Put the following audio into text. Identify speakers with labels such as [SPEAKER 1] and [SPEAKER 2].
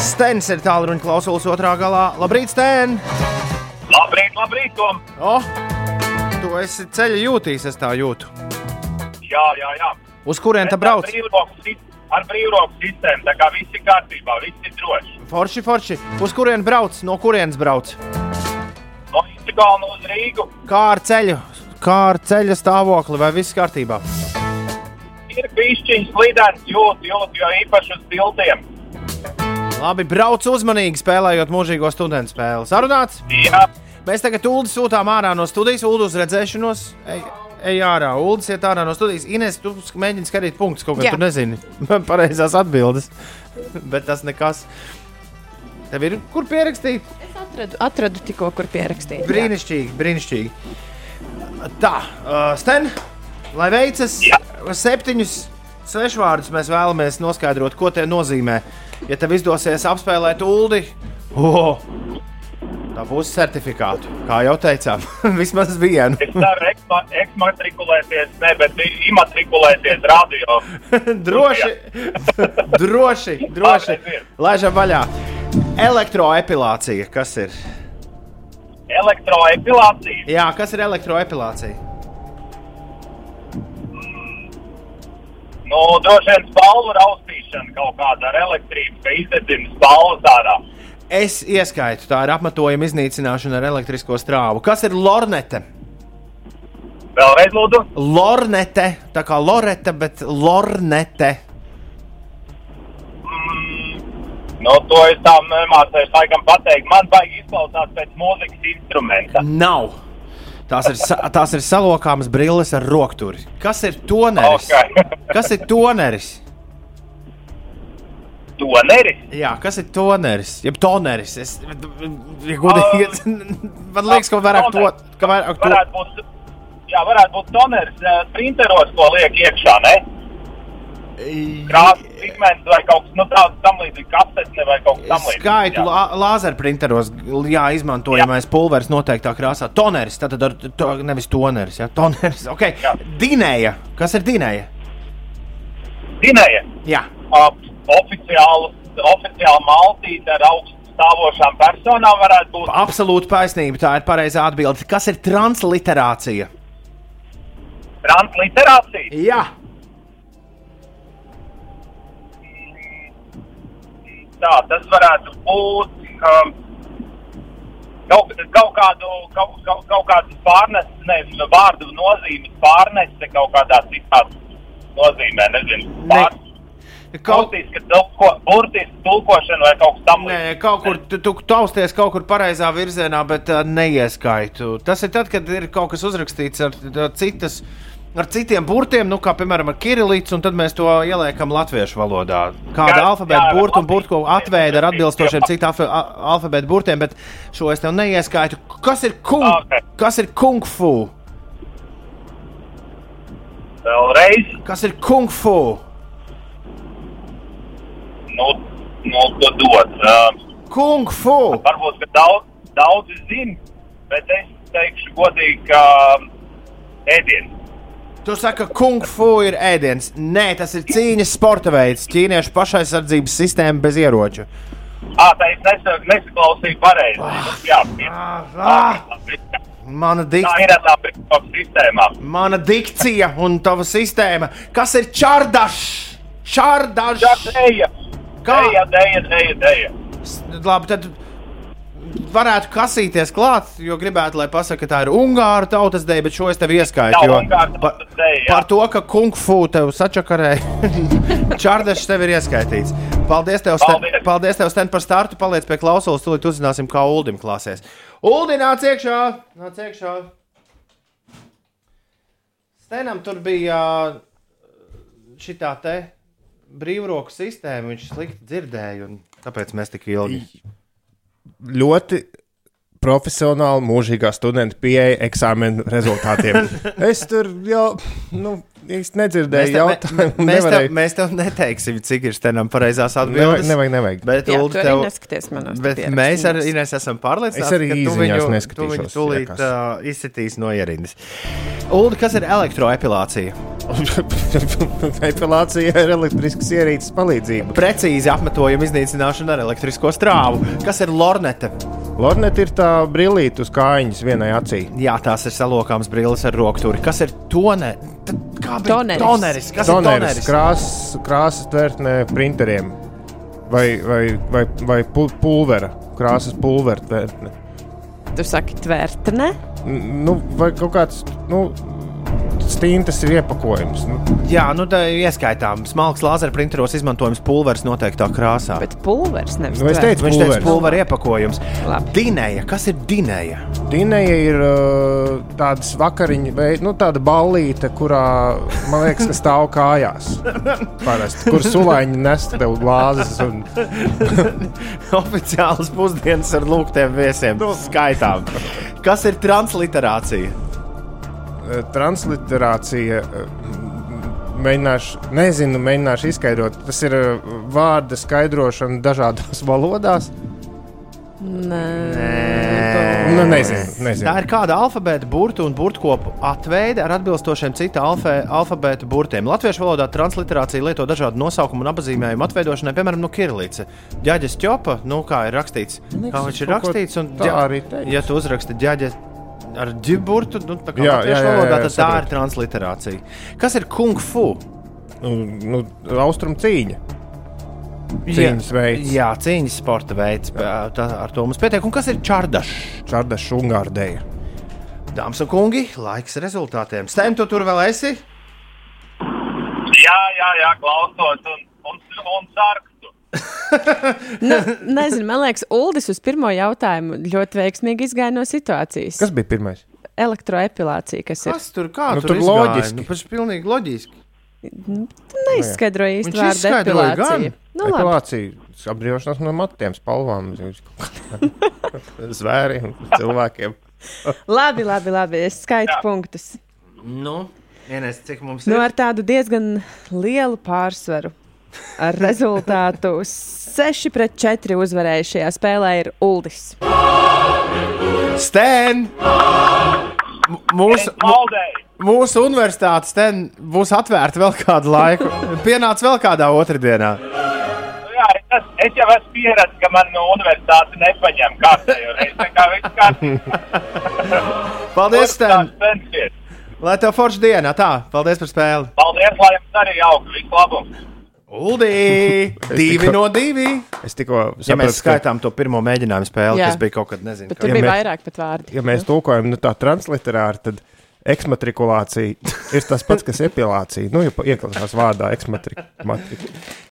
[SPEAKER 1] Stens ir tālruņa klausulas otrā galā. Labrīt, Sten!
[SPEAKER 2] Labrīt, labrīt, Tom!
[SPEAKER 1] O, tu esi ceļa jūtīs, es tā jūtu.
[SPEAKER 2] Jā, jā, jā.
[SPEAKER 1] Uz kurien tu
[SPEAKER 2] Es
[SPEAKER 1] brauc?
[SPEAKER 2] Ar brīvroku sis- Ar brīvroku sistēmu, tā kā viss ir kārtībā, viss ir droši.
[SPEAKER 1] Forši, forši. Uz kurien brauc? No kurienes brauc?
[SPEAKER 2] No Instagrama uz Rīgu
[SPEAKER 1] Kā ar ceļu? Kā ar ceļa stāvokli, vai viss kārtībā?
[SPEAKER 2] ir pišķiņas slidens, jūt, jūt, jo īpaši uz tiltiem.
[SPEAKER 1] Labi, brauc uzmanīgi, spēlējot mūžīgo studentu spēli. Sarunāts!
[SPEAKER 2] Jā,
[SPEAKER 1] Mēs tagad Ulu sūtām ārā no studijas, Ulu uz redzēšanos. Ej, ej ārā, Ulu iet ārā no studijas. Ines, tu sk- mēģini skatīt punktus, kaut kā
[SPEAKER 3] Jā.
[SPEAKER 1] tu nezini. Pareizās atbildes. Bet tas nekas. Tev ir kur pierakstīt?
[SPEAKER 3] Es atradu, atradu tikko, kur pierakstīt.
[SPEAKER 1] Brīnišķīgi, brīnišķīgi. Tā, uh, Sten, lai veicas,
[SPEAKER 2] Jā.
[SPEAKER 1] septiņus svešvārdus mēs vēlamies noskaidrot, ko tie nozīmē. Ja tev izdosies apspēlēt ūdeni, oh, tā būs certifikāta. Kā jau teicām, vismaz vienu.
[SPEAKER 2] es ceru, eksma- eksmatrikulēties, ne, bet i- imatrikulēties radio.
[SPEAKER 1] droši, droši, droši.
[SPEAKER 2] Pārreiz vien.
[SPEAKER 1] Laižam vaļā. Elektroepilācija, kas ir?
[SPEAKER 2] Elektroepilācija.
[SPEAKER 1] Jā, kas ir elektroepilācija?
[SPEAKER 2] Nu, droši vien spalvu raustīšana kaut kāda ar elektrību, ka izdedzina spalvas ārā.
[SPEAKER 1] Es ieskaitu, tā ir apmetojuma iznīcināšana ar elektrisko strāvu. Kas ir lornete?
[SPEAKER 2] Vēlreiz lūdzu.
[SPEAKER 1] Lornete, tā kā lorete, bet lornete.
[SPEAKER 2] Nu, to es tā nemācīju, laikam, pateikt. Man baigi izklausās pēc mūzikas instrumenta.
[SPEAKER 1] Nav. Tās ir, sa- tās ir salokāmas brilles ar rokturi. Kas ir toneris?
[SPEAKER 2] Ok.
[SPEAKER 1] Kas ir toneris?
[SPEAKER 2] To neris.
[SPEAKER 1] Jā, kas ir toneris? Jeb toneris. Es, ja godīgi, es, man liekas, ka vairāk to. Ka vairāk to.
[SPEAKER 2] Varētu būt, jā, varētu būt toneris, eh, printeros, ko liek iekšā, ne? Krāsa, pigments vai kaut kas nu, tāds tamlīdzīgs, kapsēta vai kaut kas tamlīdzīgs.
[SPEAKER 1] Skaitu lā, lāzerprinteros, jā, izmantojamais pulveris noteiktā krāsā. Toneris, tātad ar to nevis toneris, jā, toneris. Okay.
[SPEAKER 2] Jā.
[SPEAKER 1] Dinēja, kas ir dinēja?
[SPEAKER 2] Zinēja,
[SPEAKER 1] Jā,
[SPEAKER 2] oficiāli, oficiāli maltīte ar augstu stāvošām personām varētu būt
[SPEAKER 1] absolūti taisnība, tā ir pareizā atbilde. Kas ir transliterācija?
[SPEAKER 2] transliterācija.
[SPEAKER 1] Jā,
[SPEAKER 2] Tā, tas varētu būt um, kaut, kaut, kādu, kaut, kaut, kaut kādas pārneses, nezinu, vārdu nozīmes pārnese kaut kādā citā nozīmē. Nezinu,
[SPEAKER 1] Ne,
[SPEAKER 2] pār, kaut
[SPEAKER 1] kaut,
[SPEAKER 2] kāda burtiski tulkošana vai kaut kas
[SPEAKER 1] nē,
[SPEAKER 2] tamlīdzīgs.
[SPEAKER 1] kaut kur tu, tu tausties kaut kur pareizā virzienā, bet uh, neieskaitu. Tas ir tad, kad ir kaut kas uzrakstīts ar, ar citas. Ar citiem burtiem, nu, kā piemēram ar kirilītu, un tad mēs to ieliekam latviešu valodā. Kāda
[SPEAKER 2] Jā, jā,
[SPEAKER 1] alfabēta
[SPEAKER 2] ar
[SPEAKER 1] burta un
[SPEAKER 2] latviešu
[SPEAKER 1] burta ko
[SPEAKER 2] burtiem,
[SPEAKER 1] atveida ar
[SPEAKER 2] jā.
[SPEAKER 1] atbilstošiem citu alfa- a- alfabēta burtiem, bet šo es tev neieskaitu. Kas ir kung,
[SPEAKER 2] Ok.
[SPEAKER 1] kas ir kung fu?
[SPEAKER 2] Vēlreiz,
[SPEAKER 1] Kas ir kung fu?
[SPEAKER 2] nu, nu to dod. Um,
[SPEAKER 1] Kung fu!
[SPEAKER 2] varbūt, ka daudz, daudzi zin, bet es teikšu godīgi, um, ka ēdienas.
[SPEAKER 1] Tu saki, ka kung fu ir ēdiens. Nē, tas ir cīņas sporta veids, ķīniešu pašaizsardzības sistēma bez ieroča.
[SPEAKER 2] Ah, tā es nesa- nesaklausīju pareizi. Nu, Jā,
[SPEAKER 1] ah, ah.
[SPEAKER 2] jā.
[SPEAKER 1] Mana,
[SPEAKER 2] Tā
[SPEAKER 1] dik
[SPEAKER 2] ir tā brīvā sistēmā.
[SPEAKER 1] mana dikcija un tava sistēma. Kas ir čārdašs?
[SPEAKER 2] Jā,
[SPEAKER 1] Čārdašs!
[SPEAKER 2] dēja,
[SPEAKER 1] Kā?
[SPEAKER 2] dēja, dēja, dēja, dēja.
[SPEAKER 1] Labi, tad varētu kasīties klāt, jo gribētu, lai pasakā, ka tā ir Ungāra tautas dēļ, bet šo es tev ieskaitu.
[SPEAKER 2] Jā,
[SPEAKER 1] jo
[SPEAKER 2] Ungāru
[SPEAKER 1] pa-
[SPEAKER 2] tautas deja, jā.
[SPEAKER 1] Par to, ka kung fu tev sačakarēja. Čārdašs tev ir ieskaitīts. Paldies tev, Sten,
[SPEAKER 2] Paldies.
[SPEAKER 1] paldies tev Sten, par startu. Paliec pie klausulas, tūlīt uzzināsim, kā Uldim klāsies. Uldi, nāc iekšā! Nāc iekšā. Stenam tur bija šī tā brīvroku sistēma, viņš slikti dzirdēja, un tāpēc mēs tik ilgi
[SPEAKER 4] Ļoti profesionāla, mūžīgā studenta pieeja eksāmenu rezultātiem. es tur jau nu, īsti nedzirdēju jautājumu.
[SPEAKER 1] mēs, tev,
[SPEAKER 4] nevarēju-
[SPEAKER 1] mēs tev neteiksim, cik ir tam pareizās
[SPEAKER 4] Nevajag,
[SPEAKER 1] atbildēs.
[SPEAKER 4] nevajag, nevajag.
[SPEAKER 1] Bet,
[SPEAKER 3] Jā,
[SPEAKER 1] Ulri,
[SPEAKER 3] tu arī
[SPEAKER 1] tev,
[SPEAKER 3] neskaties manos
[SPEAKER 1] bet
[SPEAKER 3] pierakstus.
[SPEAKER 1] mēs ar Inês esam pārliecināti,
[SPEAKER 4] Es arī
[SPEAKER 1] ka tu
[SPEAKER 4] īziņās
[SPEAKER 1] viņu, tu viņu
[SPEAKER 4] neskatīšos,
[SPEAKER 1] tūlīt
[SPEAKER 4] ja kas.
[SPEAKER 1] uh, izsitīs no ierindas. Ulu, kas ir elektroepilācija?
[SPEAKER 4] Epilācija ir elektriskas ierīces palīdzība.
[SPEAKER 1] Precīzi apmetojuma iznīcināšana ar elektrisko strāvu. Kas ir lornete?
[SPEAKER 4] Lornet ir tā brillīte uz kājas vienai acī.
[SPEAKER 1] Jā, tās ir salokāms brilles ar rokturi. Kas ir tone? T- Kā bija?
[SPEAKER 3] Toneris.
[SPEAKER 1] Toneris. Kas
[SPEAKER 4] Toneris,
[SPEAKER 1] ir toneris?
[SPEAKER 4] krāsas, krāsas tvertnē printeriem vai, vai, vai, vai pu- pulvera, krāsas pulvera tvertne.
[SPEAKER 3] Tu saki, tvērtne.
[SPEAKER 4] N- Nu, vai kaut kāds, nu, stintas ir iepakojums. Nu,
[SPEAKER 1] Jā, nu tā ir ieskaitām. Smalks lāzerprinteros izmantojams pulveris noteiktā krāsā.
[SPEAKER 3] Bet pulveris nevis.
[SPEAKER 4] Nu, es
[SPEAKER 3] tvērtne.
[SPEAKER 4] teicu,
[SPEAKER 1] Viņš teica,
[SPEAKER 4] Pulveris.
[SPEAKER 1] pulvera iepakojums.
[SPEAKER 3] Labi.
[SPEAKER 1] Dinēja, kas ir dinēja?
[SPEAKER 4] Dinēja ir uh, tādas vakariņu, vai nu, tāda ballīte, kurā man liekas, ka stāv kājās. Parasti, kur sulāņi nest tev glāzes. Un... uh,
[SPEAKER 1] Oficiāls pusdienas ar lūgtiem viesiem.
[SPEAKER 4] Nu.
[SPEAKER 1] Skaitām. Kas ir transliterācija?
[SPEAKER 4] Eh, Transliterācija. eh, m, Mēģināšu, nezinu, mēģināšu izskaidrot. Tas ir eh, vārda skaidrošana dažādās valodās.
[SPEAKER 3] Nē,
[SPEAKER 4] Nu, nezinu,
[SPEAKER 1] Tā
[SPEAKER 4] nezinu.
[SPEAKER 1] ir kāda alfabēta burtu un burtkopu atveide ar atbilstošiem cita alfē, alfabēta burtiem. Latviešu valodā transliterācija lieto dažādu nosaukumu un apzīmējumu atveidošanai, piemēram, no Kirilīca. Ģaģis Čopa, nu kā ir rakstīts,
[SPEAKER 4] liekas,
[SPEAKER 1] kā viņš ir
[SPEAKER 4] Nu, kaut ko
[SPEAKER 1] rakstīts, un
[SPEAKER 4] tā arī teiks.
[SPEAKER 1] ja tu uzraksti ģaģis ar ģiburtu, nu, tā kā
[SPEAKER 4] Jā,
[SPEAKER 1] latviešu
[SPEAKER 4] jā, jā,
[SPEAKER 1] valodā,
[SPEAKER 4] jā,
[SPEAKER 1] tad tā
[SPEAKER 4] saprotu.
[SPEAKER 1] ir transliterācija. Kas ir kung fu?
[SPEAKER 4] Nu, nu, Austrum cīņa. Cīņas veids.
[SPEAKER 1] Jā, cīņas sporta veids. pā- Tā, ar to mums pietiek. Un kas ir čārdašs?
[SPEAKER 4] Čārda šungārdēja.
[SPEAKER 1] Dāmas un kungi, laiks rezultātiem. Stem, tu tur vēl esi?
[SPEAKER 2] Jā, jā, jā klausos un, un, un sarkstu.
[SPEAKER 3] nu, nezinu, man liekas, Uldis uz pirmo jautājumu ļoti veiksmīgi izgāja no situācijas.
[SPEAKER 4] Kas bija pirmais?
[SPEAKER 3] Elektroepilācija, kas ir?
[SPEAKER 1] Kas tur kā
[SPEAKER 4] Nu,
[SPEAKER 1] tur
[SPEAKER 4] tur
[SPEAKER 1] izgāja?
[SPEAKER 4] loģiski.
[SPEAKER 1] Nu, paši pilnīgi loģiski.
[SPEAKER 3] Nu, Neizskaidroja
[SPEAKER 1] Viņš
[SPEAKER 3] īsti vārdu
[SPEAKER 1] izskaidroja
[SPEAKER 3] epilācija.
[SPEAKER 1] gan.
[SPEAKER 3] Nu, labi.
[SPEAKER 4] Epilācija, apbrīvošanās no matiem, spalvām, zvēriem, cilvēkiem.
[SPEAKER 3] Labi, labi, labi. Es skaitu Jā. punktus.
[SPEAKER 1] Nu, vienais, cik mums
[SPEAKER 3] Nu,
[SPEAKER 1] ir.
[SPEAKER 3] ar tādu diezgan lielu pārsvaru. Ar rezultātu 6 pret 4 uzvarēja šajā spēlē ir Uldis.
[SPEAKER 1] Stem! M- Mūsu,
[SPEAKER 2] Es maldēju.
[SPEAKER 1] mūsu universitātes ten būs atvērta vēl kādu laiku. Pienāca vēl kādā otrdienā.
[SPEAKER 2] Nu Jā, es, es jau esmu pieredzējis, ka man no universitātes nepaņem kārtējo reizi. Tā kā viss kārtībā.
[SPEAKER 1] Paldies, Stem!
[SPEAKER 2] Stensies.
[SPEAKER 1] Lai tev forša diena! Tā, paldies par spēli!
[SPEAKER 2] Paldies, lai jums arī jauka. Visu labu.
[SPEAKER 1] Uldī! Divi
[SPEAKER 4] tikko-
[SPEAKER 1] no diviem!
[SPEAKER 4] Es tikko
[SPEAKER 1] Ja mēs
[SPEAKER 4] sapratu, ka-
[SPEAKER 1] skaitām to pirmo mēģinājumu spēli,
[SPEAKER 3] Jā.
[SPEAKER 1] kas bija kaut kad nezinu.
[SPEAKER 3] Bet tur
[SPEAKER 1] kad-
[SPEAKER 3] ja bija
[SPEAKER 4] mēs-
[SPEAKER 3] mēs... vairāk pat vārdi.
[SPEAKER 4] ja mēs tulkojam nu, tā transliterāri, tad eksmatrikulācija ir tas pats, kas epilācija. Nu, ja pa- ieklausās vārdā eksmatrikulācija.